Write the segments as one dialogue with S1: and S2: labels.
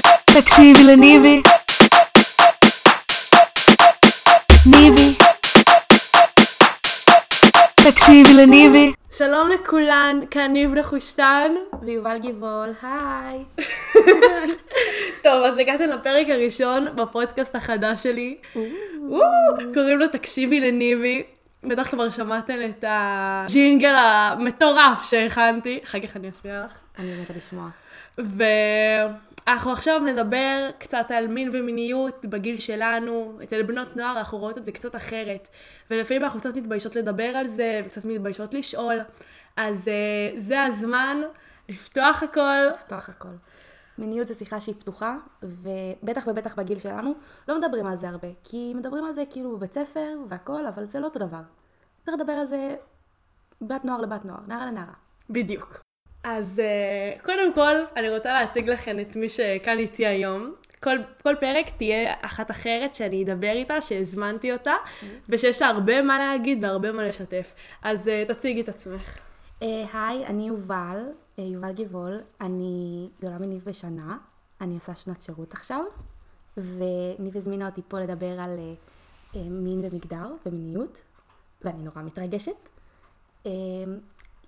S1: Tive Lenive. ניבי. תקשיבי לניבי.
S2: שלום לכולן, כאן ניב נחושתן ויובל גיבול, היי. טוב, אז הגעתם לפרק הראשון בפודקאסט החדש שלי. וואו, קוראים לו תקשיבי לניבי. בטח כבר שמעתם את הג'ינגל המטורף שהכנתי, אחר כך אני אשמיע לך.
S3: אני מתה לשמוע.
S2: ואנחנו עכשיו נדבר קצת על מין ומיניות בגיל שלנו. אצל בנות נוער אנחנו רואות את זה קצת אחרת. ולפעמים אנחנו קצת מתביישות לדבר על זה, וקצת מתביישות לשאול. אז אה, זה הזמן לפתוח הכל.
S3: לפתוח הכל. מיניות זו שיחה שהיא פתוחה, ובטח ובטח בגיל שלנו, לא מדברים על זה הרבה. כי מדברים על זה כאילו בבית ספר והכל, אבל זה לא אותו דבר. צריך לדבר על זה בת נוער לבת נוער, נערה לנערה.
S2: בדיוק. אז אה, קודם כל, אני רוצה להציג לכם את מי שכאן איתי היום. כל, כל פרק תהיה אחת אחרת שאני אדבר איתה, שהזמנתי אותה, ושיש לה הרבה מה להגיד והרבה מה לשתף. אז אה, תציגי את עצמך.
S3: אה, היי, אני יובל, אה, יובל גיבול, אני גדולה מניב בשנה, אני עושה שנת שירות עכשיו, וניב הזמינה אותי פה לדבר על אה, אה, מין ומגדר ומיניות, ואני נורא מתרגשת. אה,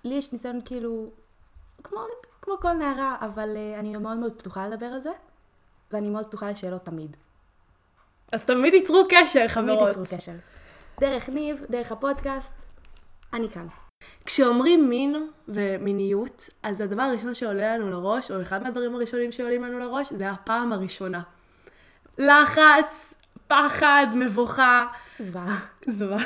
S3: לי יש ניסיון כאילו, כמו, כמו כל נערה, אבל אה, אני מאוד מאוד פתוחה לדבר על זה, ואני מאוד פתוחה לשאלות תמיד.
S2: אז תמיד ייצרו קשר,
S3: תמיד
S2: חברות.
S3: יצרו קשר. דרך ניב, דרך הפודקאסט, אני כאן.
S2: כשאומרים מין ומיניות, אז הדבר הראשון שעולה לנו לראש, או אחד מהדברים הראשונים שעולים לנו לראש, זה הפעם הראשונה. לחץ, פחד, מבוכה,
S3: זוועה.
S2: זוועה,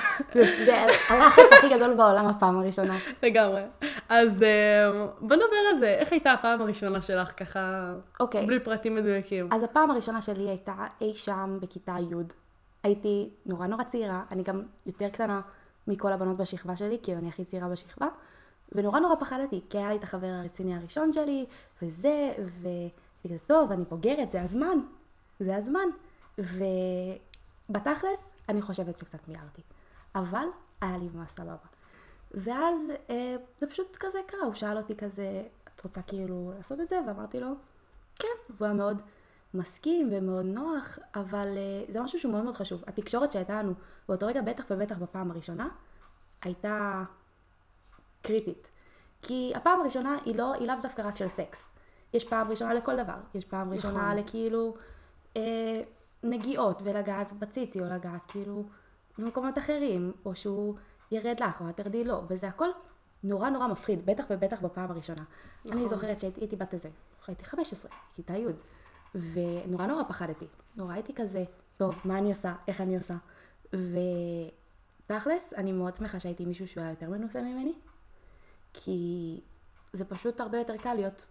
S3: זה הלחץ הכי גדול בעולם הפעם הראשונה.
S2: לגמרי. אז אמ, בוא נדבר על זה, איך הייתה הפעם הראשונה שלך ככה,
S3: אוקיי,
S2: בלי פרטים מדויקים?
S3: אז הפעם הראשונה שלי הייתה אי שם בכיתה י'. הייתי נורא נורא צעירה, אני גם יותר קטנה מכל הבנות בשכבה שלי, כאילו אני הכי צעירה בשכבה, ונורא נורא פחדתי, כי היה לי את החבר הרציני הראשון שלי, וזה, וכאילו, טוב, אני בוגרת, זה הזמן, זה הזמן. ובתכלס, אני חושבת שקצת מיהרתי, אבל היה לי ממש סבבה. ואז אה, זה פשוט כזה קרה, הוא שאל אותי כזה, את רוצה כאילו לעשות את זה? ואמרתי לו, כן. והוא היה מאוד מסכים ומאוד נוח, אבל אה, זה משהו שהוא מאוד מאוד חשוב. התקשורת שהייתה לנו באותו רגע, בטח ובטח בפעם הראשונה, הייתה קריטית. כי הפעם הראשונה היא, לא, היא לאו דווקא רק של סקס. יש פעם ראשונה לכל דבר. יש פעם ראשונה
S2: נכון.
S3: נכון. לכאילו אה, נגיעות ולגעת בציצי, או לגעת כאילו במקומות אחרים, או שהוא ירד לך, או את תרדי לו, וזה הכל נורא נורא מפחיד, בטח ובטח בפעם הראשונה. נכון. אני זוכרת שהייתי בת איזה, הייתי 15, כיתה י', ונורא נורא פחדתי. נורא הייתי כזה, טוב, מה אני עושה, איך אני עושה. ותכלס, אני מאוד שמחה שהייתי עם מישהו שהוא היה יותר מנוסה ממני, כי זה פשוט הרבה יותר קל להיות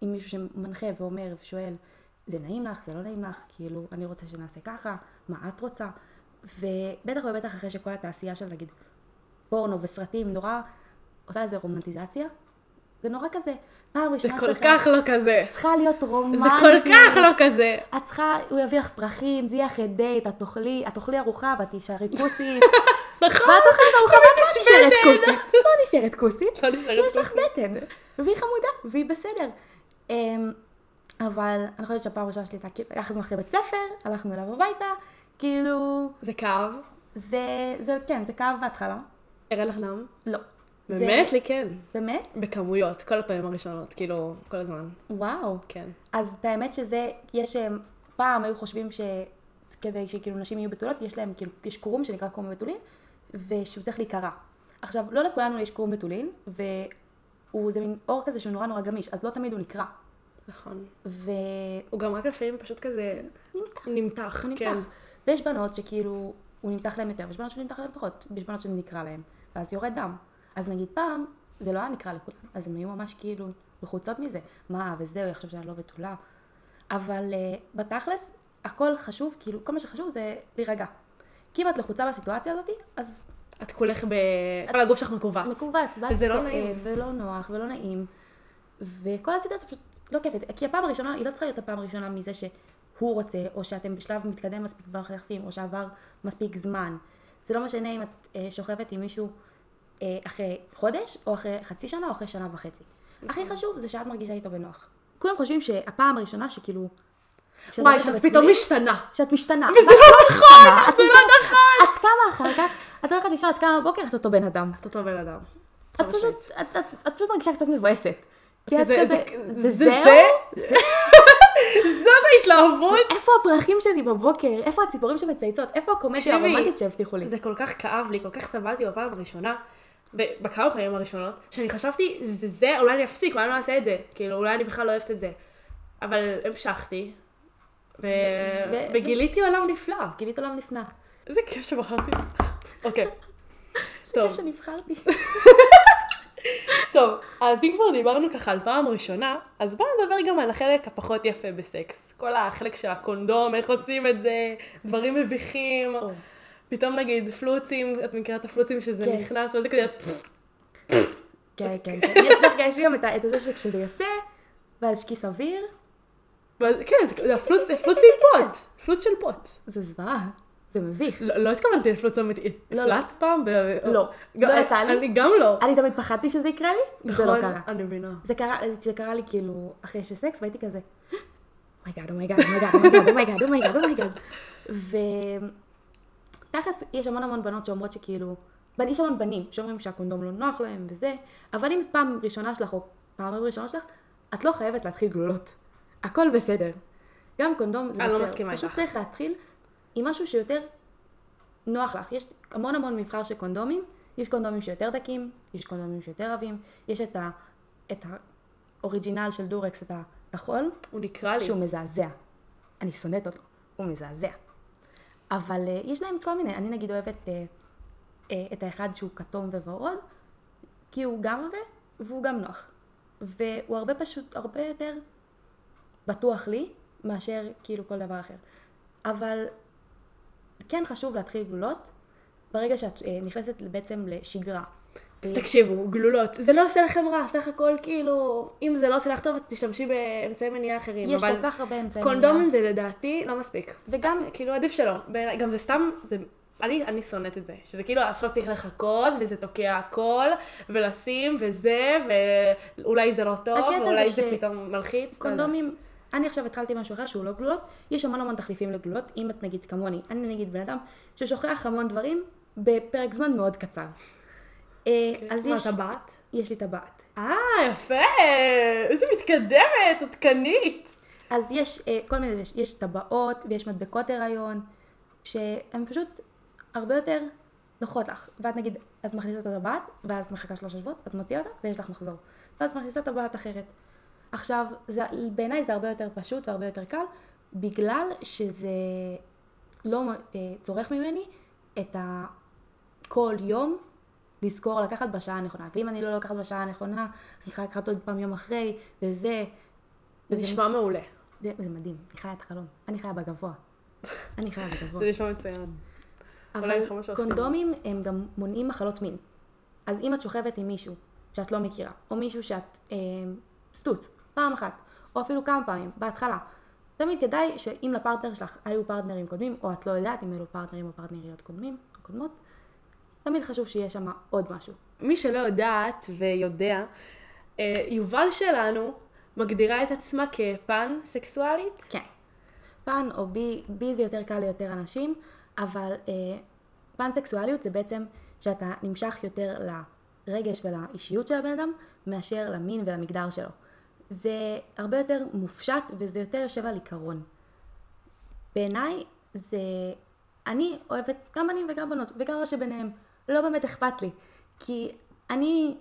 S3: עם מישהו שמנחה ואומר ושואל, זה נעים לך, זה לא נעים לך, כאילו, אני רוצה שנעשה ככה, מה את רוצה? ובטח ובטח אחרי שכל התעשייה של נגיד פורנו וסרטים נורא עושה לזה רומנטיזציה, זה נורא כזה, פעם
S2: זה
S3: ראשונה
S2: כל כך לא כזה.
S3: צריכה להיות רומנטית.
S2: זה כל כך לא כזה.
S3: את צריכה, הוא יביא לך פרחים, זה יהיה אחרי דייט, את תאכלי, את תאכלי ארוחה ואת תישארי כוסית.
S2: נכון.
S3: ואת אוכלת ארוחה ואת לא נשארת
S2: בטן.
S3: כוסית. את לא נשארת כוסית.
S2: לא נשארת
S3: יש לך בטן. והיא חמודה, והיא בסדר. אמ, אבל אני חושבת שהפעם הראשונה שלי הייתה, כאילו, הלכנו אחרי בית ספר, הלכנו אליו הביתה, כאילו,
S2: זה כאב.
S3: זה, זה, כן, זה כאב בהתחלה.
S2: אראה לך דם.
S3: לא. זה-
S2: באמת? לי כן.
S3: באמת?
S2: בכמויות, כל הפעמים הראשונות, כאילו, כל הזמן.
S3: וואו.
S2: כן.
S3: אז את האמת שזה, יש, אה, פעם היו חושבים שכדי שכאילו נשים יהיו בתולות, יש להם כאילו, יש קורום שנקרא קורום בתולים, ושהוא צריך להיקרע. עכשיו, לא לכולנו יש קורום בתולים, והוא זה מין אור כזה שהוא נורא נורא גמיש, אז לא תמיד הוא נקרע.
S2: נכון.
S3: והוא
S2: הוא גם רק לפעמים פשוט כזה...
S3: נמתח.
S2: נמתח,
S3: נמתח.
S2: כן.
S3: ויש בנות שכאילו, הוא נמתח להם יותר, ויש בנות שנמתח להם פחות, ויש בנות שנקרע להם, ואז יורד דם. אז נגיד פעם, זה לא היה נקרע לכולם, אז הם היו ממש כאילו לחוצות מזה. מה, וזהו, הוא יחשוב שאני לא בתולה. אבל uh, בתכלס, הכל חשוב, כאילו, כל מה שחשוב זה להירגע. כי אם את לחוצה בסיטואציה הזאת, אז
S2: את כולך ב... כל הגוף שלך מכווץ.
S3: מכווץ, ואז
S2: וזה לא
S3: כואב,
S2: נעים.
S3: ולא נוח, ולא נעים. וכל הסיטואציה פשוט לא כיפית. כי הפעם הראשונה, היא לא צריכה להיות הפעם הראשונה מזה שהוא רוצה, או שאתם בשלב מתקדם מספיק במערכת היחסים, או שעבר מספיק זמן. זה לא משנה אם את אה, שוכבת עם מישהו אה, אחרי חודש, או אחרי חצי שנה, או אחרי
S2: נכון.
S3: שנה וחצי. הכי חשוב זה שאת מרגישה איתו בנוח. כולם חושבים שהפעם הראשונה שכאילו כשאת
S2: וואי,
S3: הולכת
S2: שאת
S3: לבית
S2: פתאום
S3: חולים,
S2: משתנה.
S3: שאת משתנה.
S2: וזה לא נכון,
S3: מה את משתנה? את
S2: זה לא
S3: נשארת-
S2: נכון.
S3: את קמה אחר כך, את הולכת לישון, את קמה בבוקר, את אותו בן אדם.
S2: את אותו בן אדם.
S3: את פשוט, את- את- את פשוט מרגישה קצת מבואסת. כי את
S2: זה-
S3: כזה,
S2: זה-
S3: זה
S2: זה-
S3: זהו? זה-
S2: זאת ההתלהבות.
S3: איפה הפרחים שלי בבוקר? איפה הציפורים שמצייצות? איפה הקומדיה
S2: תקשיבי,
S3: הרומנטית שהבטיחו לי?
S2: זה כל כך כאב לי, כל כך סבלתי בפעם הראשונה, ב- בכמה פעמים הראשונות, שאני חשבתי, זה זה, אולי אני אפסיק, אולי אני לא אעשה את זה. כאילו, אולי אני בכלל לא אוהבת את זה. אבל המשכתי, ו-
S3: ו-
S2: וגיליתי עולם נפלא.
S3: גילית עולם נפלא.
S2: איזה כיף שבחרתי. אוקיי.
S3: טוב.
S2: טוב,
S3: כיף שנבחרתי.
S2: טוב, אז אם כבר דיברנו ככה על פעם ראשונה, אז בואו נדבר גם על החלק הפחות יפה בסקס. כל החלק של הקונדום, איך עושים את זה, דברים מביכים. פתאום נגיד פלוצים, את מכירה את הפלוצים שזה
S3: כן.
S2: נכנס, וזה כזה, "פפפ",
S3: כן, כן, כן. יש דווקא, יש לי גם את ה- את זה שכשזה יוצא, ואז כי סביר,
S2: ואז- כן, זה- זה הפלוץ זה פלוץ עם פוט, פלוץ של פוט.
S3: זה זוועה. זה מביך.
S2: לא לא התכוונתי לפלוץ אמיתי,
S3: לא, לא.
S2: הפלצת פעם? ב-
S3: לא,
S2: גם-
S3: לא יצא לי.
S2: אני גם לא.
S3: אני תמיד פחדתי שזה יקרה לי, זה לא
S2: נכון,
S3: קרה.
S2: אני מבינה.
S3: זה קרה, זה קרה לי כאילו אחרי שסקס, והייתי כזה, אומייגאד, אומייגאד, אומייגאד, אומייגאד, אומייגאד, אומייגאד. oh ותכלס, יש המון המון בנות שאומרות שכאילו, בנ- יש המון בנים שאומרים שהקונדום לא נוח להם וזה, אבל אם זו פעם ראשונה שלך, או פעמים ראשונות שלך, את לא חייבת להתחיל גלולות. הכל בסדר. גם קונדום זה
S2: אני לא
S3: בסדר.
S2: מסכימה
S3: פשוט
S2: איתך.
S3: צריך להתחיל עם משהו שיותר נוח לך. יש המון המון מבחר של קונדומים, יש קונדומים שיותר דקים, יש קונדומים שיותר עבים, יש את, ה, את האוריג'ינל של דורקס, את הכחול,
S2: הוא נקרא לי.
S3: שהוא מזעזע. אני שונאת אותו, הוא מזעזע. אבל אה, יש להם כל מיני, אני נגיד אוהבת אה, אה, את האחד שהוא כתום וורוד, כי הוא גם עבה והוא גם נוח. והוא הרבה פשוט, הרבה יותר בטוח לי, מאשר כאילו כל דבר אחר. אבל כן חשוב להתחיל גלולות, ברגע שאת אה, נכנסת בעצם לשגרה. אה,
S2: תקשיבו, גלולות. זה לא עושה לכם רע, סך הכל כאילו, אם זה לא עושה לך טוב, אז תשתמשי באמצעי מניעה אחרים.
S3: יש
S2: אבל
S3: כל כך הרבה אמצעים.
S2: קונדומים זה לדעתי לא מספיק.
S3: וגם
S2: כאילו, עדיף שלא. בעיניי, גם זה סתם, זה... אני, אני שונאת את זה, שזה כאילו עכשיו צריך לחכות, וזה תוקע הכל, ולשים, וזה, ואולי זה לא טוב,
S3: הקטע זה
S2: ואולי
S3: ש-
S2: זה, פתאום מלחיץ. לא יודעת.
S3: קונדומים, אני עכשיו התחלתי משהו אחר שהוא לא גלולות, יש המון המון תחליפים לגלולות, אם את נגיד כמוני, אני נגיד בן אדם ששוכח המון דברים בפרק זמן מאוד קצר. אה, אז
S2: אוקיי. מה,
S3: יש,
S2: טבעת?
S3: יש לי טבעת.
S2: אה, יפה! איזה מתקדמת, עדכנית.
S3: אז יש אה, כל מיני, יש, יש טבעות ויש מדבקות הריון, שהן פשוט הרבה יותר נוחות לך. ואת נגיד, את מכניסה את הטבעת, ואז מחכה שלושה שבועות, את מוציאה אותה ויש לך מחזור. ואז מכניסה טבעת אחרת. עכשיו, זה, בעיניי זה הרבה יותר פשוט והרבה יותר קל, בגלל שזה לא אה, צורך ממני את ה... כל יום לזכור לקחת בשעה הנכונה. ואם אני לא לוקחת בשעה הנכונה, אז אני צריכה לקחת עוד פעם יום אחרי, וזה...
S2: זה נשמע מעולה.
S3: זה, זה מדהים, אני חיה את החלום. אני חיה בגבוה. אני חיה בגבוה.
S2: זה נשמע מצוין. אולי
S3: אבל
S2: בכלל מה שעושים.
S3: קונדומים הם גם מונעים מחלות מין. אז אם את שוכבת עם מישהו שאת לא מכירה, או מישהו שאת אה, סטוץ, פעם אחת, או אפילו כמה פעמים, בהתחלה, תמיד כדאי שאם לפרטנר שלך היו פרטנרים קודמים, או את לא יודעת אם אלו פרטנרים או פרטנריות קודמים, או קודמות, תמיד חשוב שיהיה שם עוד משהו.
S2: מי שלא יודעת ויודע, אה, יובל שלנו מגדירה את עצמה כפן סקסואלית.
S3: כן. פן או בי, בי זה יותר קל ליותר אנשים, אבל אה, פנסקסואליות זה בעצם שאתה נמשך יותר לרגש ולאישיות של הבן אדם, מאשר למין ולמגדר שלו. זה הרבה יותר מופשט וזה יותר יושב על עיקרון. בעיניי זה... אני אוהבת גם בנים וגם בנות, וגם מה שביניהם. לא באמת אכפת לי. כי אני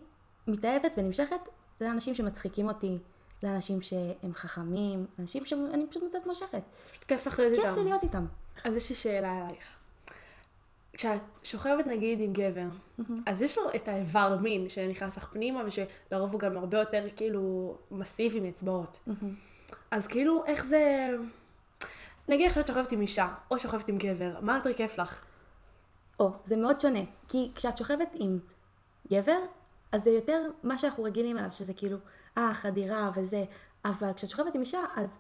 S3: מתאהבת ונמשכת לאנשים שמצחיקים אותי, לאנשים שהם חכמים, לאנשים שאני פשוט מוצאת מושכת.
S2: כיף לך להיות
S3: כיף
S2: איתם.
S3: לי להיות איתם.
S2: אז יש לי שאלה אלייך. כשאת שוכבת נגיד עם גבר, אז יש לו את האיבר מין שנכנס לך פנימה, ושלרוב הוא גם הרבה יותר כאילו מסיבי מאצבעות. אז כאילו, איך זה... נגיד עכשיו את שוכבת עם אישה, או שוכבת עם גבר, מה יותר כיף לך?
S3: או, זה מאוד שונה. כי כשאת שוכבת עם גבר, אז זה יותר מה שאנחנו רגילים אליו, שזה כאילו, אה, חדירה וזה. אבל כשאת שוכבת עם אישה, אז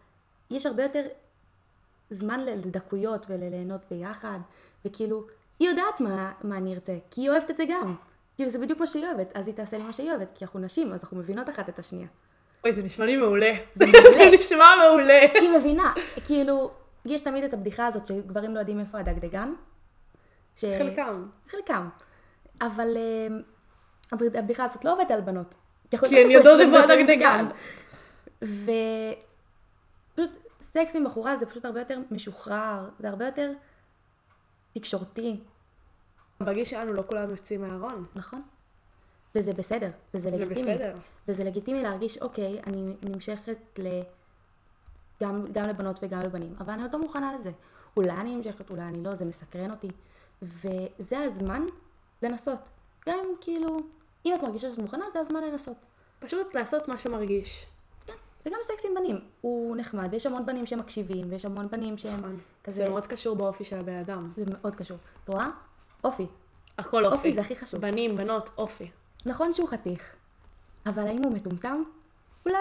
S3: יש הרבה יותר זמן ל- לדקויות ולליהנות ביחד. וכאילו, היא יודעת מה, מה אני ארצה, כי היא אוהבת את זה גם. כאילו, זה בדיוק מה שהיא אוהבת, אז היא תעשה לי מה שהיא אוהבת, כי אנחנו נשים, אז אנחנו מבינות אחת את השנייה.
S2: אוי, זה נשמע לי מעולה. זה נשמע מעולה.
S3: היא מבינה, כאילו, יש תמיד את הבדיחה הזאת שגברים לא יודעים איפה הדגדגן. ש-
S2: אה. חלקם.
S3: חלקם. אבל אמ, אבל הבדיחה הזאת לא עובדת על בנות. יכול
S2: כי
S3: להיות
S2: הן
S3: איפה
S2: יודעות
S3: יש
S2: איפה
S3: דגדגן.
S2: הדגדגן.
S3: ופשוט סקס עם בחורה זה פשוט הרבה יותר משוחרר, זה הרבה יותר תקשורתי,
S2: בגיל שלנו לא כולם יוצאים מהארון.
S3: נכון? וזה בסדר, וזה
S2: זה
S3: לגיטימי.
S2: בסדר.
S3: וזה לגיטימי להרגיש, אוקיי, אני נמשכת ל... גם, גם לבנות וגם לבנים, אבל אני עוד לא מוכנה לזה. אולי אני נמשכת, אולי אני לא, זה מסקרן אותי. וזה הזמן לנסות. גם אם כאילו, אם את מרגישה שאת מוכנה, זה הזמן לנסות.
S2: פשוט לעשות מה שמרגיש.
S3: וגם סקס עם בנים, הוא נחמד, ויש המון בנים שמקשיבים, ויש המון בנים שהם
S2: נכון.
S3: כזה...
S2: זה מאוד קשור באופי של הבן אדם.
S3: זה מאוד קשור. את רואה? אופי.
S2: הכל אופי.
S3: אופי זה הכי חשוב.
S2: בנים, בנות, אופי.
S3: נכון שהוא חתיך, אבל האם הוא מטומטם? אולי.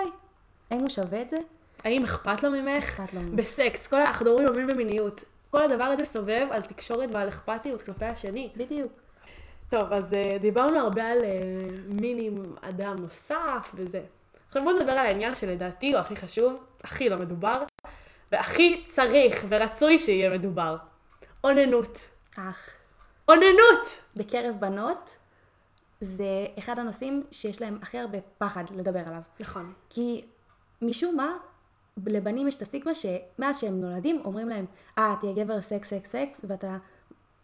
S3: האם הוא שווה את זה? לא.
S2: האם אכפת לו ממך?
S3: אכפת לו ממך.
S2: בסקס, כל אנחנו מדברים על מין ומיניות. כל הדבר הזה סובב על תקשורת ועל אכפתיות כלפי השני.
S3: בדיוק.
S2: טוב, אז אה, דיברנו הרבה על אה, מין עם אדם נוסף וזה. עכשיו בואו נדבר על העניין שלדעתי הוא הכי חשוב, הכי לא מדובר, והכי צריך ורצוי שיהיה מדובר. אוננות.
S3: אך.
S2: אוננות!
S3: בקרב בנות, זה אחד הנושאים שיש להם הכי הרבה פחד לדבר עליו.
S2: נכון.
S3: כי משום מה, לבנים יש את הסטיגמה שמאז שהם נולדים אומרים להם, אה, תהיה גבר סקס סקס סקס, ואתה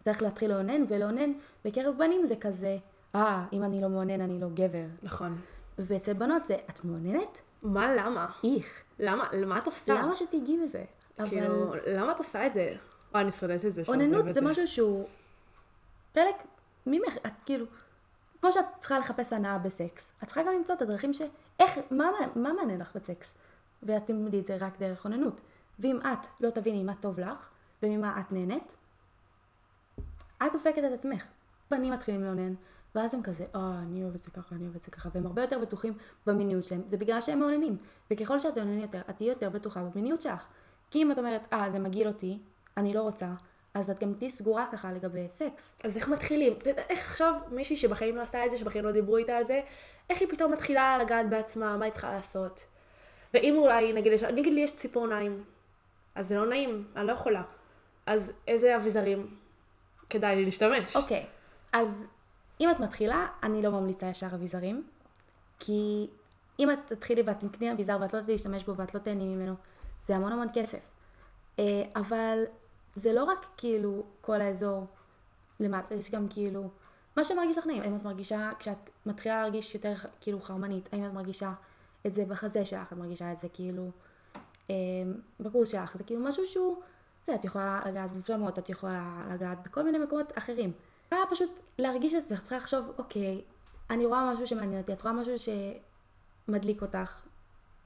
S3: צריך להתחיל לאונן ולאונן. בקרב בנים זה כזה, אה, אם אני לא מאונן אני לא גבר.
S2: נכון.
S3: ואצל בנות זה, את מאוננת?
S2: מה, למה?
S3: איך.
S2: למה, למה את עושה?
S3: למה שתיגעי בזה? אבל
S2: כאילו, למה את עושה את זה? וואי, אני שונאת את זה. שאומרים
S3: אוננות
S2: את
S3: זה משהו שהוא חלק ממך, את כאילו, כמו שאת צריכה לחפש הנאה בסקס, את צריכה גם למצוא את הדרכים ש... איך, מה, מה מעניין לך בסקס? ואת תלמדי את זה רק דרך אוננות. ואם את לא תביני מה טוב לך, וממה את נהנית, את דופקת את עצמך. בנים מתחילים לאונן, ואז הם כזה, אה, אני אוהב את זה ככה, אני אוהב את זה ככה, והם הרבה יותר בטוחים במיניות שלהם. זה בגלל שהם מאוננים. וככל שאת מאונן יותר, את תהיי יותר בטוחה במיניות שלך. כי אם את אומרת, אה, זה מגעיל אותי, אני לא רוצה, אז את גם תהיי סגורה ככה לגבי סקס.
S2: אז איך מתחילים? אתה יודע, איך עכשיו מישהי שבחיים לא עשתה את זה, שבחיים לא דיברו איתה על זה, איך היא פתאום מתחילה לגעת בעצמה, מה היא צריכה לעשות? ואם אולי, נגיד, יש, נגיד לי יש ציפורניים, אז זה לא נעים, אני לא יכולה. אז איזה אביזרים כדאי לי להשתמש?
S3: אוקיי, אז אם את מתחילה, אני לא ממליצה ישר אביזרים, כי אם את תתחילי ואת תקני אביזר ואת לא תשתמש בו ואת לא תהני ממנו, זה המון המון כסף. אה, אבל זה לא רק כאילו כל האזור למטה, יש גם כאילו, מה שמרגיש לך נעים, האם את מרגישה, כשאת מתחילה להרגיש יותר כאילו חרמנית, האם את מרגישה את זה בחזה שלך, את מרגישה את זה כאילו אה, בקורס שלך, זה כאילו משהו שהוא, זה, את יכולה לגעת בפלמות, את יכולה לגעת בכל מיני מקומות אחרים. את צריכה פשוט להרגיש את זה, את צריכה לחשוב, אוקיי, אני רואה משהו שמעניין אותי, את רואה משהו שמדליק אותך.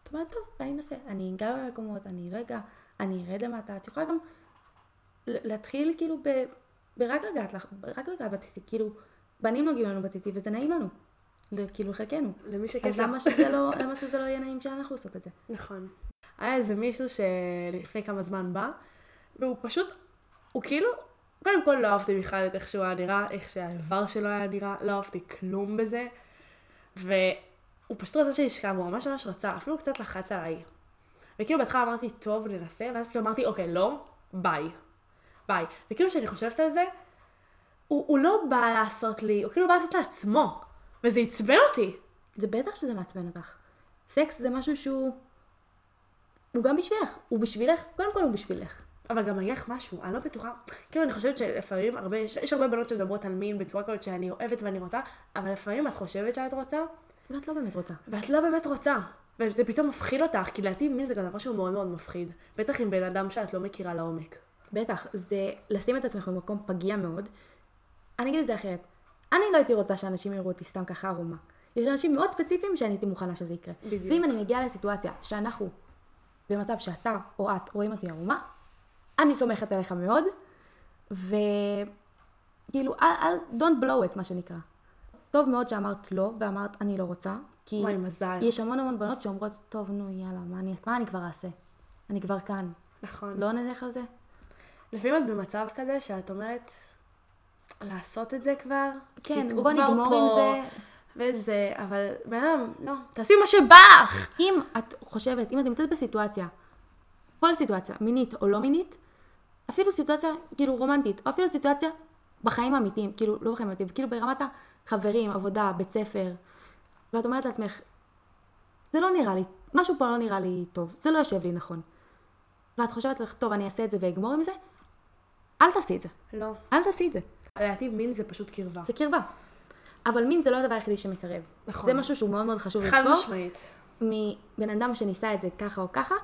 S3: את אומרת, טוב, אני אנסה, אני אגע במקומות, אני לא אגע, אני ארד למטה, את יכולה גם ל- להתחיל כאילו ב... ברק לגעת לך, רק לגעת בציצי, כאילו, בנים נוגעים לנו בציצי וזה נעים לנו, ל- כאילו חלקנו.
S2: למי שכן.
S3: אז למה שזה לא, למה שזה לא יהיה נעים שאנחנו עושות את זה?
S2: נכון. היה איזה מישהו שלפני כמה זמן בא, והוא פשוט, הוא כאילו, קודם כל לא אהבתי בכלל את איך שהוא היה נראה, איך שהאיבר שלו היה נראה, לא אהבתי כלום בזה, והוא פשוט רצה שישכב, הוא ממש ממש רצה, אפילו קצת לחץ עליי. וכאילו בהתחלה אמרתי, טוב, ננסה, ואז פתאום אמרתי, אוקיי, לא, ביי. ביי. וכאילו כשאני חושבת על זה, הוא, הוא לא בא לעשות לי, הוא כאילו בא לעשות לעצמו, וזה עצבן אותי.
S3: זה בטח שזה מעצבן אותך. סקס זה משהו שהוא... הוא גם בשבילך, הוא בשבילך, קודם כל הוא בשבילך.
S2: אבל גם אני אגיד לך משהו, אני לא בטוחה, כאילו אני חושבת שלפעמים, הרבה, יש, יש הרבה בנות שמדברות על מין בצורה כזאת שאני אוהבת ואני רוצה, אבל לפעמים את חושבת שאת רוצה,
S3: ואת לא באמת רוצה.
S2: ואת לא באמת רוצה. וזה פתאום מפחיד אותך, כי לדעתי מין זה גם דבר שהוא מאוד מאוד מפחיד. בטח עם בן אדם שאת לא מכירה לעומק.
S3: בטח, זה לשים את עצמך במקום פגיע מאוד. אני אגיד את זה אחרת. אני לא הייתי רוצה שאנשים יראו אותי סתם ככה ערומה. יש אנשים מאוד ספציפיים שאני הייתי מוכנה שזה יקרה.
S2: בדיוק.
S3: ואם אני מגיעה לסיטואציה שאנחנו במצב שאתה או את רואים אותי ערומה, אני סומכת עליך מאוד, וכאילו, אל, אל, don't blow it, מה שנקרא. טוב מאוד שאמרת לא, ואמרת אני לא רוצה, כי
S2: וואי, מזל.
S3: יש המון המון בנות שאומרות, טוב, נו, יאללה, מה אני, מה אני כבר אעשה? אני כבר כאן.
S2: נכון.
S3: לא נלך על זה?
S2: לפעמים את במצב כזה שאת אומרת, לעשות את זה כבר?
S3: כן,
S2: כי הוא
S3: בוא
S2: כבר
S3: נגמור
S2: פה,
S3: עם זה.
S2: וזה, אבל בן אדם, לא, תעשי מה שבא לך.
S3: אם את חושבת, אם את נמצאת בסיטואציה, כל סיטואציה, מינית או לא מינית, אפילו סיטואציה כאילו רומנטית, או אפילו סיטואציה בחיים האמיתיים, כאילו לא בחיים האמיתיים, כאילו ברמת החברים, עבודה, בית ספר, ואת אומרת לעצמך, זה לא נראה לי, משהו פה לא נראה לי טוב, זה לא יושב לי נכון. ואת חושבת לך, טוב, אני אעשה את זה ואגמור עם זה, אל תעשי את זה,
S2: לא.
S3: אל תעשי את זה,
S2: לדעתי מין זה פשוט קרבה.
S3: זה קרבה. אבל מין זה לא הדבר היחידי שמקרב.
S2: נכון.
S3: זה משהו שהוא מאוד מאוד חשוב לזכור.
S2: חד משמעית.
S3: מבן אדם שניסה את זה ככה או ככה,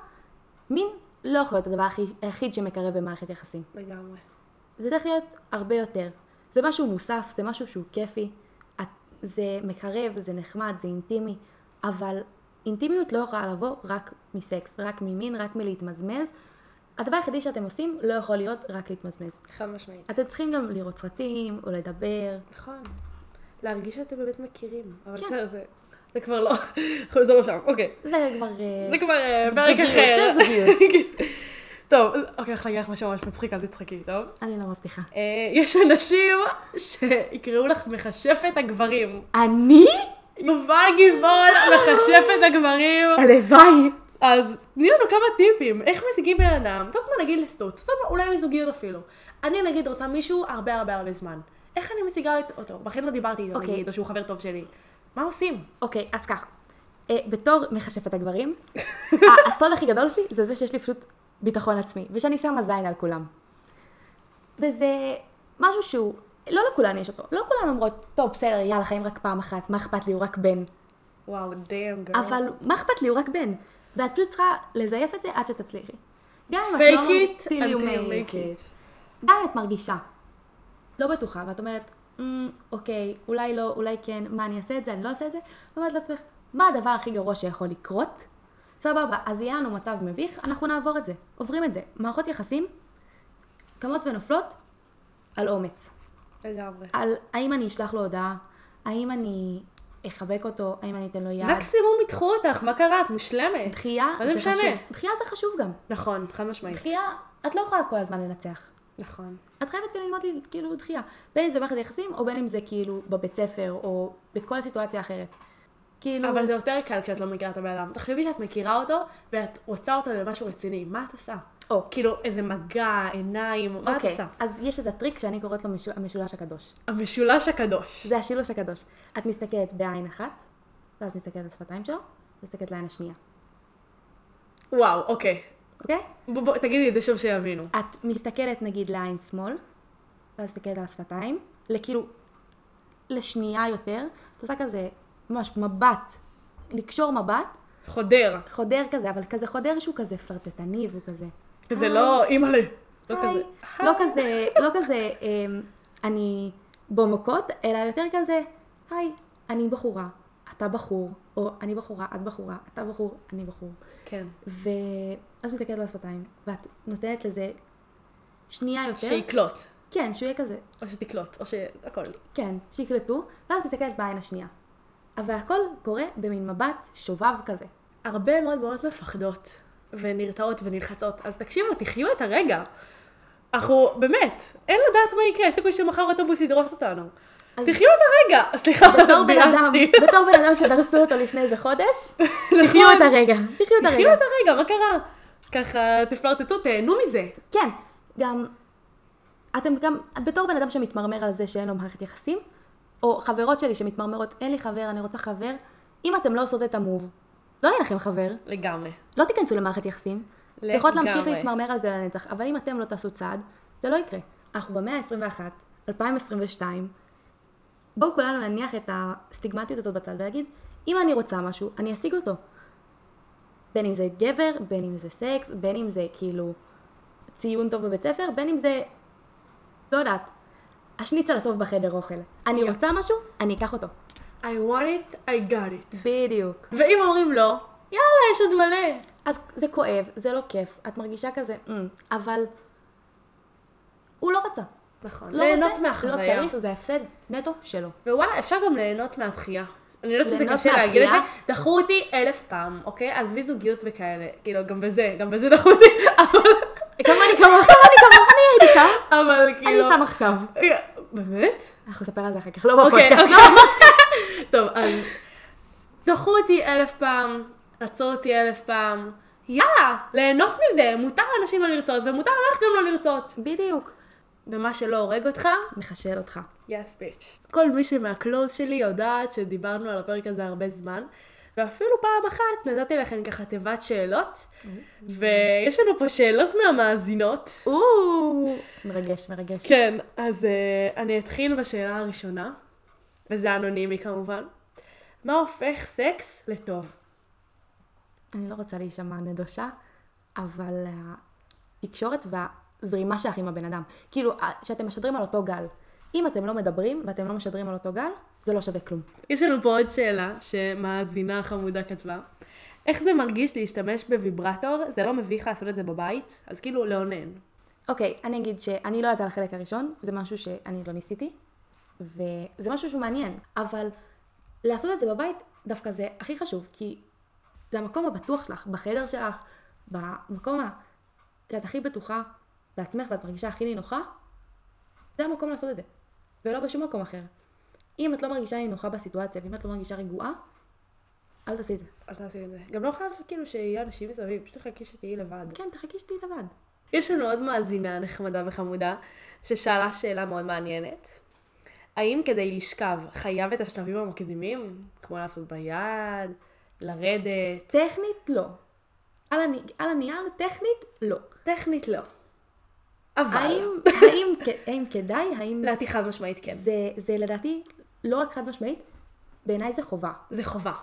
S3: מין לא יכול להיות הדבר הכי- היחיד שמקרב במערכת יחסים.
S2: לגמרי.
S3: זה צריך להיות הרבה יותר. זה משהו מוסף, זה משהו שהוא כיפי, את- זה מקרב, זה נחמד, זה אינטימי, אבל אינטימיות לא יכולה לבוא רק מסקס, רק ממין, רק מלהתמזמז. הדבר היחידי שאתם עושים לא יכול להיות רק להתמזמז.
S2: חד משמעית.
S3: אתם צריכים גם לראות סרטים, או לדבר.
S2: נכון. להרגיש שאתם באמת מכירים. אבל
S3: כן.
S2: בסדר, זה... זה כבר לא... זה לא שם, אוקיי.
S3: זה כבר... אה,
S2: זה כבר אה, פרק
S3: זוגיות,
S2: אחר.
S3: זה זוגיות.
S2: טוב, אוקיי, הולך להגיד לך משהו ממש מצחיק, אל תצחקי, טוב?
S3: אני לא מבטיחה.
S2: אה, יש אנשים שיקראו לך מכשפת הגברים.
S3: אני?
S2: יובל גיבול, מכשפת הגברים.
S3: הלוואי.
S2: אז תני לנו כמה טיפים, איך משיגים בן אדם, אתה יודעת מה נגיד לסטוץ, אתה יודע מה, אולי לזוגיות אפילו. אני נגיד רוצה מישהו הרבה הרבה הרבה זמן. איך אני משיגה את- אותו? בכלל לא דיברתי איתו
S3: אוקיי.
S2: נגיד, או שהוא חבר טוב שלי. מה עושים?
S3: אוקיי, אז ככה. אה, בתור מכשפת הגברים, הסוד הכי גדול שלי זה זה שיש לי פשוט ביטחון עצמי, ושאני שמה זין על כולם. וזה משהו שהוא, לא לכולן יש אותו. לא כולן אומרות, טוב, בסדר, יאללה, חיים רק פעם אחת, מה אכפת לי, הוא רק בן.
S2: כן. וואו, דאם גרל.
S3: אבל מה אכפת לי, הוא רק בן. ואת פשוט צריכה לזייף את זה עד שתצליחי. גם אם את לא...
S2: fake it
S3: till you
S2: until
S3: make
S2: make it.
S3: גם אם את מרגישה לא בטוחה, ואת אומרת, "אמ, אוקיי, אולי לא, אולי כן, מה, אני אעשה את זה, אני לא אעשה את זה, ואומרת לעצמך, מה הדבר הכי גרוע שיכול לקרות? סבבה, אז יהיה לנו מצב מביך, אנחנו נעבור את זה, עוברים את זה. מערכות יחסים קמות ונופלות על אומץ.
S2: לגמרי.
S3: על האם אני אשלח לו הודעה, האם אני אחבק אותו, האם אני אתן לו יד.
S2: מקסימום ידחו אותך, מה קרה? את מושלמת.
S3: דחייה
S2: מה
S3: זה
S2: זה
S3: חשוב.
S2: משנה?
S3: דחייה זה חשוב גם.
S2: נכון, חד משמעית.
S3: דחייה, את לא יכולה כל הזמן לנצח.
S2: נכון.
S3: את חייבת כאילו ללמוד לי, כאילו דחייה. בין אם זה במערכת יחסים, או בין אם זה כאילו בבית ספר, או בכל סיטואציה אחרת. כאילו,
S2: אבל זה יותר קל כשאת לא מכירה את הבן אדם. תחשבי שאת מכירה אותו, ואת רוצה אותו למשהו רציני, מה את עושה?
S3: או,
S2: כאילו, איזה מגע, עיניים, מה את
S3: אוקיי,
S2: עושה?
S3: אז יש את הטריק שאני קוראת לו משו- המשולש הקדוש.
S2: המשולש הקדוש.
S3: זה השילוש הקדוש. את מסתכלת בעין אחת, ואת מסתכלת על שפתיים שלו, מסתכלת לעין השנייה,
S2: וואו, אוקיי.
S3: אוקיי?
S2: בוא, בוא, תגידי את זה שוב שיבינו.
S3: את מסתכלת נגיד לעין שמאל, ואת מסתכלת על השפתיים, לכאילו, לשנייה יותר, את עושה כזה, ממש מבט, לקשור מבט,
S2: חודר.
S3: חודר כזה, אבל כזה חודר שהוא כזה פרטטני והוא כזה.
S2: זה לא אימא'לה. לא
S3: היי.
S2: כזה.
S3: לא כזה, לא כזה, אמ, אני בו מכות, אלא יותר כזה, היי, אני בחורה, אתה בחור, או אני בחורה, את בחורה, אתה בחור, אני בחור.
S2: כן.
S3: ואת מסתכלת לו על השפתיים, ואת נותנת לזה שנייה יותר.
S2: שיקלוט.
S3: כן, שהוא יהיה כזה,
S2: או שתקלוט, או שהכל.
S3: כן, שיקלטו, ואז מסתכלת בעין השנייה. אבל הכל קורה במין מבט שובב כזה.
S2: הרבה מאוד מאוד מפחדות, ונרתעות ונלחצות, אז תקשיבו, תחיו את הרגע. אנחנו, באמת, אין לדעת מה יקרה, יש סיכוי שמחר אוטובוס ידרוס אותנו.
S3: אז-
S2: תחיו את הרגע! סליחה,
S3: בתור בן אדם,
S2: ביאסתי.
S3: בתור בן אדם שדרסו אותו לפני איזה חודש, תחיו את הרגע, נכון. תחיו את
S2: תחיו
S3: הרגע.
S2: את הרגע, מה קרה? ככה, תפלרטטו, תהנו מזה.
S3: כן, גם, אתם גם, בתור בן אדם שמתמרמר על זה שאין לו מערכת יחסים, או חברות שלי שמתמרמרות, אין לי חבר, אני רוצה חבר, אם אתם לא עושות את המוב, לא יהיה לכם חבר,
S2: לגמרי.
S3: לא תיכנסו למערכת יחסים,
S2: לגמרי.
S3: יכולות להמשיך להתמרמר על זה לנצח, אבל אם אתם לא תעשו צעד, זה לא יקרה. אנחנו במאה ה-21, 2022, בואו כולנו נניח את הסטיגמטיות הזאת בצד ולהגיד, אם אני רוצה משהו, אני אשיג אותו. בין אם זה גבר, בין אם זה סקס, בין אם זה כאילו ציון טוב בבית ספר, בין אם זה, לא יודעת, השניצל הטוב בחדר אוכל. אני רוצה משהו, אני אקח אותו.
S2: I want it, I got it.
S3: בדיוק.
S2: ואם אומרים לא, יאללה, יש עוד מלא.
S3: אז זה כואב, זה לא כיף, את מרגישה כזה, "אמ", אבל הוא לא רצה.
S2: נכון.
S3: לא
S2: ליהנות
S3: רוצה,
S2: מהחוויה.
S3: לא צריך, זה הפסד נטו שלו.
S2: ווואלה, אפשר גם ליהנות מהדחייה. אני יודעת שזה
S3: ליהנות
S2: קשה להגיד את זה,
S3: מהדחייה?
S2: דחו אותי אלף פעם, אוקיי? עזבי זוגיות וכאלה. כאילו, גם בזה, גם בזה דחו אותי, אבל-
S3: כמוני כמוך, כמוני כמוך, אני הייתי שם,
S2: אבל כאילו...
S3: אני שם עכשיו.
S2: אה, באמת?
S3: אנחנו נספר על זה אחר כך, לא
S2: אוקיי,
S3: בפודקאסט.
S2: אוקיי. טוב, אז דחו אותי אלף פעם, רצו אותי אלף פעם. יאללה, ליהנות מזה, מותר לאנשים לא לרצות, ומותר לך גם לא לרצות.
S3: בדיוק.
S2: ומה שלא הורג אותך,
S3: מחשל אותך.
S2: יס ביץ'. כל מי שמהקלוז שלי יודעת שדיברנו על הפרק הזה הרבה זמן, ואפילו פעם אחת נתתי לכם ככה תיבת שאלות, ויש לנו פה שאלות מהמאזינות.
S3: או, מרגש, מרגש.
S2: כן, אז uh, אני אתחיל בשאלה הראשונה, וזה אנונימי כמובן. מה הופך סקס לטוב?
S3: אני לא רוצה להישמע נדושה, אבל התקשורת והזרימה שלך עם הבן אדם. כאילו, ה- שאתם משדרים על אותו גל. אם אתם לא מדברים ואתם לא משדרים על אותו גל, זה לא שווה כלום.
S2: יש לנו פה עוד שאלה שמאזינה חמודה כתבה. איך זה מרגיש להשתמש בוויברטור? זה לא מביך לעשות את זה בבית? אז כאילו לאונן.
S3: אוקיי, אני אגיד שאני לא יודעת על החלק הראשון, זה משהו שאני לא ניסיתי, וזה משהו שהוא מעניין, אבל לעשות את זה בבית, דווקא זה הכי חשוב, כי זה המקום הבטוח שלך, בחדר שלך, במקום ה- שאת הכי בטוחה בעצמך ואת מרגישה הכי נינוחה, זה המקום לעשות את זה, ולא בשום מקום אחר. אם את לא מרגישה נינוחה בסיטואציה, ואם את לא מרגישה רגועה, אל תעשי את זה.
S2: אל תעשי את זה. גם לא חייב כאילו שיהיו אנשים מסביב, פשוט תחכי שתהיי לבד.
S3: כן, תחכי שתהיי לבד.
S2: יש לנו עוד מאזינה נחמדה וחמודה, ששאלה שאלה מאוד מעניינת. האם כדי לשכב חייב את השלבים המקדימים? כמו לעשות ביד, לרדת?
S3: טכנית לא. על, הני, על הנייר, טכנית לא.
S2: טכנית לא. אבל...
S3: האם,
S2: האם...
S3: האם, כ- האם כדאי, האם...
S2: לדעתי חד משמעית כן.
S3: זה, זה לדעתי לא רק חד משמעית, בעיניי זה חובה.
S2: זה חובה.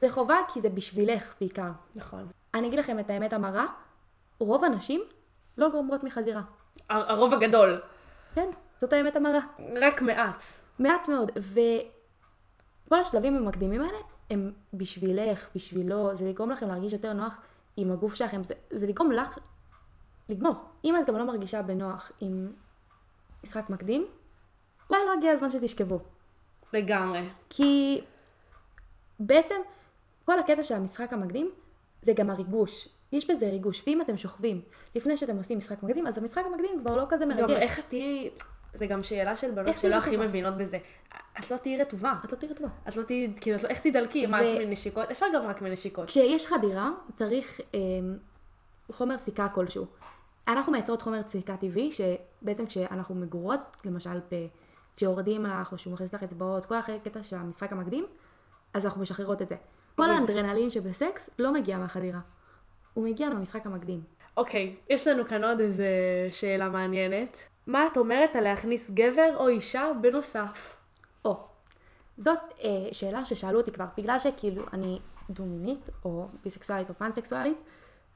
S3: זה חובה כי זה בשבילך בעיקר.
S2: נכון.
S3: אני אגיד לכם את האמת המרה, רוב הנשים לא גומרות מחזירה.
S2: הרוב הגדול.
S3: כן, זאת האמת המרה.
S2: רק מעט.
S3: מעט מאוד. וכל השלבים המקדימים האלה הם בשבילך, בשבילו, זה לגרום לכם להרגיש יותר נוח עם הגוף שלכם, זה, זה לגרום לך לגמור. אם את גם לא מרגישה בנוח עם משחק מקדים, אולי לא הגיע הזמן שתשכבו.
S2: לגמרי.
S3: כי בעצם כל הקטע של המשחק המקדים זה גם הריגוש. יש בזה ריגוש, ואם אתם שוכבים לפני שאתם עושים משחק מקדים, אז המשחק המקדים כבר לא כזה מרגש.
S2: גם איך את תהיי... זה גם שאלה של בנות
S3: איך
S2: שלא
S3: תהיי
S2: הכי
S3: רטובה?
S2: מבינות בזה. את לא תהיי רטובה.
S3: את לא תראי טובה.
S2: את לא תהיי... כאילו, את לא- איך תדלקי? מה,
S3: ו-
S2: רק מנשיקות? אפשר גם רק מנשיקות.
S3: כשיש חדירה, צריך אה, חומר סיכה כלשהו. אנחנו מייצרות חומר סיכה טבעי, שבעצם כשאנחנו מגורות, למשל ב- כשיורדים לך או שהוא מכניס לך אצבעות, כל הקטע של המשחק המקדים, אז אנחנו משחררות את זה. כל
S2: אוקיי.
S3: האנדרנלין שבסקס לא מגיע מהחדירה. הוא מגיע מהמשחק המקדים.
S2: אוקיי, יש לנו כאן עוד איזה שאלה מעניינת. מה את אומרת על להכניס גבר או אישה בנוסף?
S3: או, זאת אה, שאלה ששאלו אותי כבר, בגלל שכאילו אני דומינית או ביסקסואלית או פאנסקסואלית,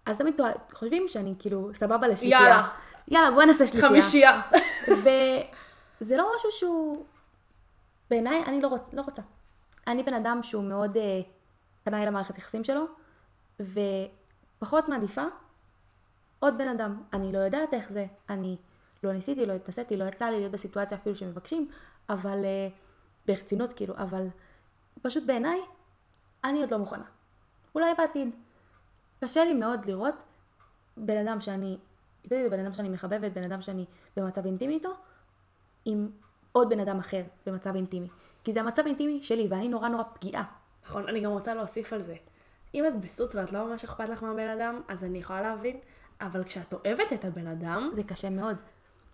S3: אז תמיד טוע- חושבים שאני כאילו סבבה לשלישייה.
S2: יאללה.
S3: יאללה, בואי נעשה שלישייה.
S2: חמישייה.
S3: וזה לא משהו שהוא... בעיניי, אני לא, רוצ... לא רוצה. אני בן אדם שהוא מאוד אה, פנה אל המערכת היחסים שלו, ופחות מעדיפה עוד בן אדם. אני לא יודעת איך זה, אני לא ניסיתי, לא התנסיתי, לא יצא לי להיות בסיטואציה אפילו שמבקשים, אבל אה, ברצינות כאילו, אבל פשוט בעיניי, אני עוד לא מוכנה. אולי בעתיד. קשה לי מאוד לראות בן אדם שאני, אתה יודע, בן אדם שאני מחבבת, בן אדם שאני במצב אינטימי איתו, עם עוד בן אדם אחר במצב אינטימי. כי זה המצב האינטימי שלי, ואני נורא נורא פגיעה.
S2: נכון, אני גם רוצה להוסיף על זה. אם את בסוץ ואת לא ממש אכפת לך מהבן אדם, אז אני יכולה להבין. אבל כשאת אוהבת את הבן אדם,
S3: זה קשה מאוד.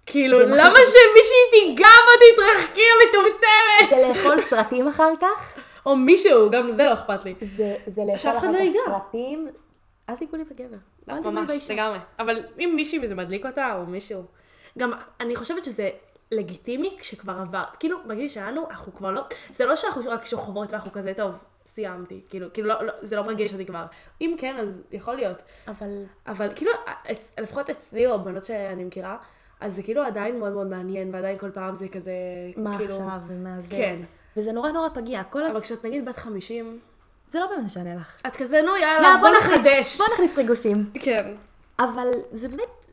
S2: כאילו,
S3: זה מה
S2: למה
S3: ש-
S2: שמישהי תיגע בה תתרחקי
S3: זה
S2: המטומטמת?
S3: לאכול סרטים אחר כך,
S2: או מישהו, גם זה לא אכפת לי.
S3: זה, זה לאכול
S2: שאף אחד
S3: אחר
S2: לא ייגע.
S3: כך סרטים. אל תיגעו לי בגבר.
S2: לא,
S3: לא, אל תיגעו לי
S2: ממש,
S3: באישה.
S2: לגמרי. אבל אם מישהי וזה מדליק אותה, או מישהו... גם אני חושבת שזה לגיטימי כשכבר עברת. כאילו, בגיל שלנו, אנחנו כבר לא... זה לא שאנחנו רק שוכבות ואנחנו כזה, טוב, סיימתי. כאילו, כאילו לא, לא, זה לא מרגיש אותי כבר. אם כן, אז יכול להיות.
S3: אבל
S2: אבל כאילו, אצ- לפחות אצלי, או בנות שאני מכירה, אז זה כאילו עדיין מאוד מאוד מעניין, ועדיין כל פעם זה כזה...
S3: מה
S2: כאילו...
S3: עכשיו ומה זה?
S2: כן.
S3: וזה נורא נורא פגיע. כל
S2: אבל
S3: הס...
S2: כשאת נגיד בת 50,
S3: זה לא באמת משנה לך.
S2: את כזה, נו יאללה,
S3: יאללה,
S2: לא, בוא
S3: נכניס-
S2: נחדש.
S3: בוא נכניס ריגושים.
S2: כן.
S3: אבל זה באמת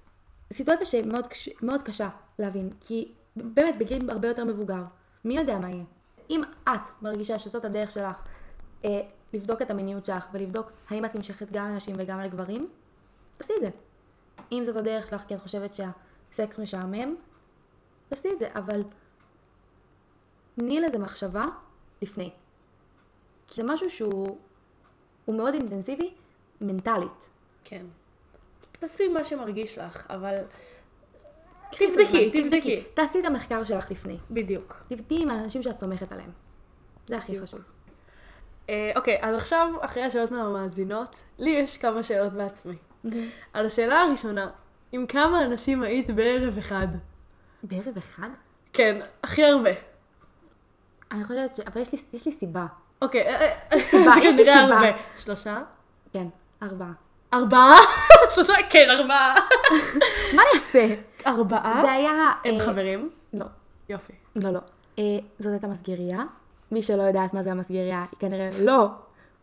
S3: סיטואציה שמאוד קש... מאוד קשה להבין, כי באמת בגיל הרבה יותר מבוגר, מי יודע מה יהיה? אם את מרגישה שזאת הדרך שלך אה, לבדוק את המיניות שלך ולבדוק האם את נמשכת גם לנשים וגם לגברים, תעשי את זה. אם זאת הדרך שלך כי את חושבת שהסקס משעמם, תעשי את זה, אבל תני לזה מחשבה לפני. כי זה משהו שהוא הוא מאוד אינטנסיבי מנטלית.
S2: כן. תעשי מה שמרגיש לך, אבל... תבדקי, תבדקי.
S3: תעשי את המחקר שלך לפני.
S2: בדיוק.
S3: תבדקי עם האנשים שאת סומכת עליהם. זה הכי חשוב.
S2: אה, אוקיי, אז עכשיו, אחרי השאלות מהמאזינות, לי יש כמה שאלות בעצמי.
S3: אוקיי.
S2: על השאלה הראשונה, עם כמה אנשים היית בערב אחד?
S3: בערב אחד?
S2: כן, הכי הרבה.
S3: אני חושבת ש... אבל יש לי, יש לי סיבה.
S2: אוקיי, אה, אה,
S3: סיבה,
S2: זה
S3: יש לי
S2: כנראה
S3: סיבה.
S2: הרבה. שלושה?
S3: כן, ארבעה.
S2: ארבעה? שלושה? כן, ארבעה.
S3: מה אני אעשה?
S2: ארבעה?
S3: זה היה...
S2: הם
S3: אה,
S2: חברים?
S3: לא,
S2: יופי.
S3: לא, לא. אה, זאת הייתה מסגריה. מי שלא יודעת מה זה המסגריה, היא כנראה לא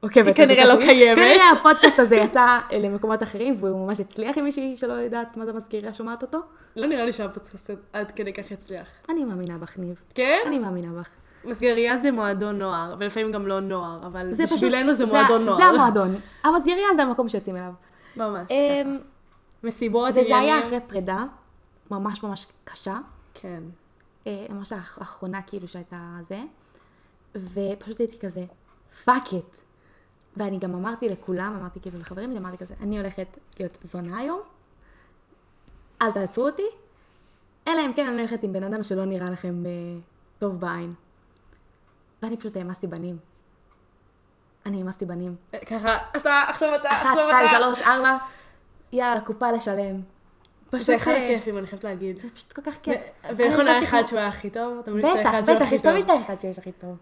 S3: עוקבת.
S2: היא כנראה
S3: לפודקאסט
S2: לא
S3: שלי.
S2: קיימת.
S3: כנראה הפודקאסט הזה יצא אה, למקומות אחרים, והוא ממש הצליח עם מישהי שלא יודעת מה זה המסגריה, שומעת אותו.
S2: לא נראה לי שהפודקאסט עד כדי כך יצליח.
S3: אני מאמינה בך, ניב.
S2: כן?
S3: אני מאמינה בך.
S2: מסגריה זה מועדון נוער, ולפעמים גם לא נוער, אבל
S3: זה פשוט-
S2: בשבילנו זה מועדון נוער.
S3: זה המועדון. המסגריה זה המקום שיוצאים אליו.
S2: ממש
S3: אמ,
S2: ככה. מסיבות,
S3: וזה היה אחרי פרידה, ממש ממש קשה.
S2: כן.
S3: אה, ממש האח- האחרונה כאילו שהייתה זה, ופשוט הייתי כזה, פאק איט. ואני גם אמרתי לכולם, אמרתי כאילו לחברים שלי, אמרתי כזה, אני הולכת להיות זונה היום, אל תעצרו אותי, אלא אם כן אני הולכת עם בן אדם שלא נראה לכם אה, טוב בעין. ואני פשוט העמסתי בנים. אני העמסתי בנים.
S2: אה, ככה, אתה, עכשיו אתה,
S3: אחת,
S2: עכשיו
S3: שתיים,
S2: אתה.
S3: שלוש, ארבע, יאללה, קופה לשלם. פשוט,
S2: זה אחד
S3: אה,
S2: הכיפים, אני חייבת להגיד.
S3: זה פשוט כל כך כיף. אני
S2: ואיך היה
S3: הרגשתי
S2: אחד
S3: כמו-
S2: שהוא היה הכי טוב? אתה מבין שאתה
S3: בטח,
S2: אחד שהוא
S3: בטח,
S2: הכי
S3: יש
S2: טוב.
S3: תמיד את האחד שיש הכי טוב.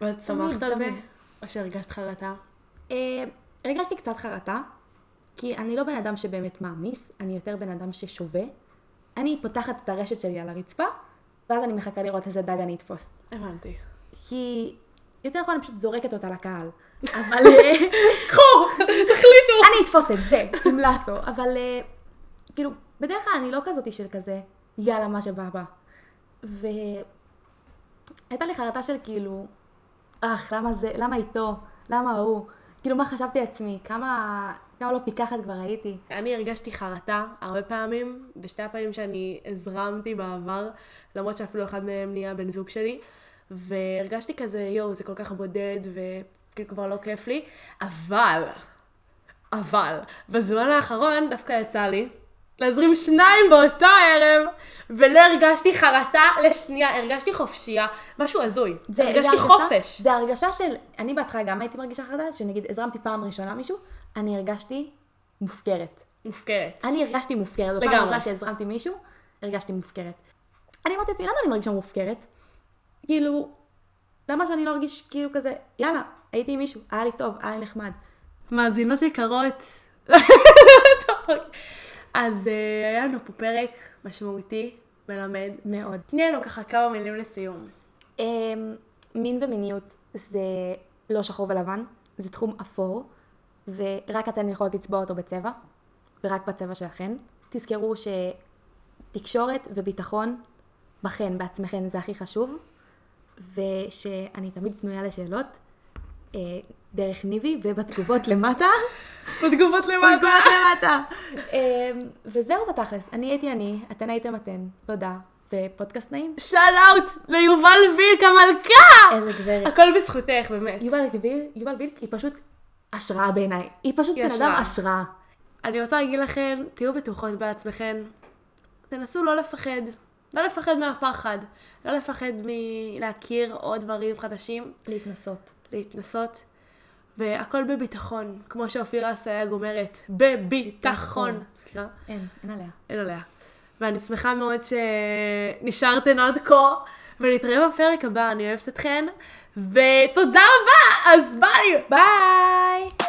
S2: ואת שמחת
S3: תמיד,
S2: על זה?
S3: תמיד.
S2: או שהרגשת חרטה?
S3: אה, הרגשתי קצת חרטה, כי אני לא בן אדם שבאמת מעמיס, אני יותר בן אדם ששווה. אני פותחת את הרשת שלי על הרצפה, ואז אני מחכה לראות איזה דג אני אתפוס.
S2: הבנתי.
S3: כי יותר נכון אני פשוט זורקת אותה לקהל. אבל אה,
S2: קחו, תחליטו.
S3: אני אתפוס את זה, עם לאסו. אבל אה, כאילו, בדרך כלל אני לא כזאתי של כזה, יאללה, מה שבא בא. והייתה לי חרטה של כאילו, אך, למה זה, למה איתו? למה הוא? כאילו, מה חשבתי לעצמי? כמה, כמה לא פיקחת כבר הייתי?
S2: אני הרגשתי חרטה הרבה פעמים, בשתי הפעמים שאני הזרמתי בעבר, למרות שאפילו אחד מהם נהיה בן זוג שלי, והרגשתי כזה, יואו, זה כל כך בודד, וכבר לא כיף לי, אבל, אבל, בזמן האחרון דווקא יצא לי להזרים שניים באותו ערב, ולא הרגשתי חרטה לשנייה, הרגשתי חופשייה, משהו הזוי, הרגשתי
S3: הרגשה-
S2: חופש.
S3: זה הרגשה של, אני בהתחלה גם הייתי מרגישה חרדה, שנגיד הזרמתי פעם ראשונה מישהו, אני הרגשתי מופקרת.
S2: מופקרת.
S3: אני הרגשתי מופקרת. לגמרי.
S2: לגמרי.
S3: בפעם הראשונה שהזרמתי מישהו, הרגשתי מופקרת. אני אמרתי לעצמי, למה אני מרגישה מופקרת? כאילו, למה שאני לא ארגיש כאילו כזה, יאללה, הייתי עם מישהו, היה לי טוב, היה לי נחמד.
S2: מאזינות יקרות. טוב. אז אה, היה לנו פה פרק משמעותי, מלמד.
S3: מאוד.
S2: תני לנו ככה כמה מילים לסיום.
S3: אמ, מין ומיניות זה לא שחור ולבן, זה תחום אפור, ורק אתן יכולות לצבוע אותו בצבע, ורק בצבע שלכן. תזכרו שתקשורת וביטחון בכן, בעצמכן, זה הכי חשוב, ושאני תמיד פנויה לשאלות, אה, דרך ניבי ובתגובות למטה.
S2: בתגובות למטה.
S3: בתגובות למטה. אמ, וזהו בתכלס, אני הייתי אני, אתן הייתם אתן, תודה, ופודקאסט נעים.
S2: שאל אאוט ליובל וילק המלכה!
S3: איזה גברת.
S2: הכל בזכותך, באמת.
S3: יובל גביל, יובל בילק היא פשוט השראה בעיניי. היא פשוט
S2: היא
S3: בן אדם
S2: השראה.
S3: השראה.
S2: אני רוצה להגיד לכן, תהיו בטוחות בעצמכן. תנסו לא לפחד. לא לפחד מהפחד. לא לפחד מלהכיר עוד דברים חדשים.
S3: להתנסות.
S2: להתנסות, והכל בביטחון, כמו שאופירה אסייג אומרת, בביטחון. מכירה?
S3: אין, אין עליה.
S2: אין עליה. ואני שמחה מאוד שנשארתן עוד כה, ונתראה בפרק הבא, אני אוהבת אתכן, ותודה רבה, אז ביי!
S3: ביי!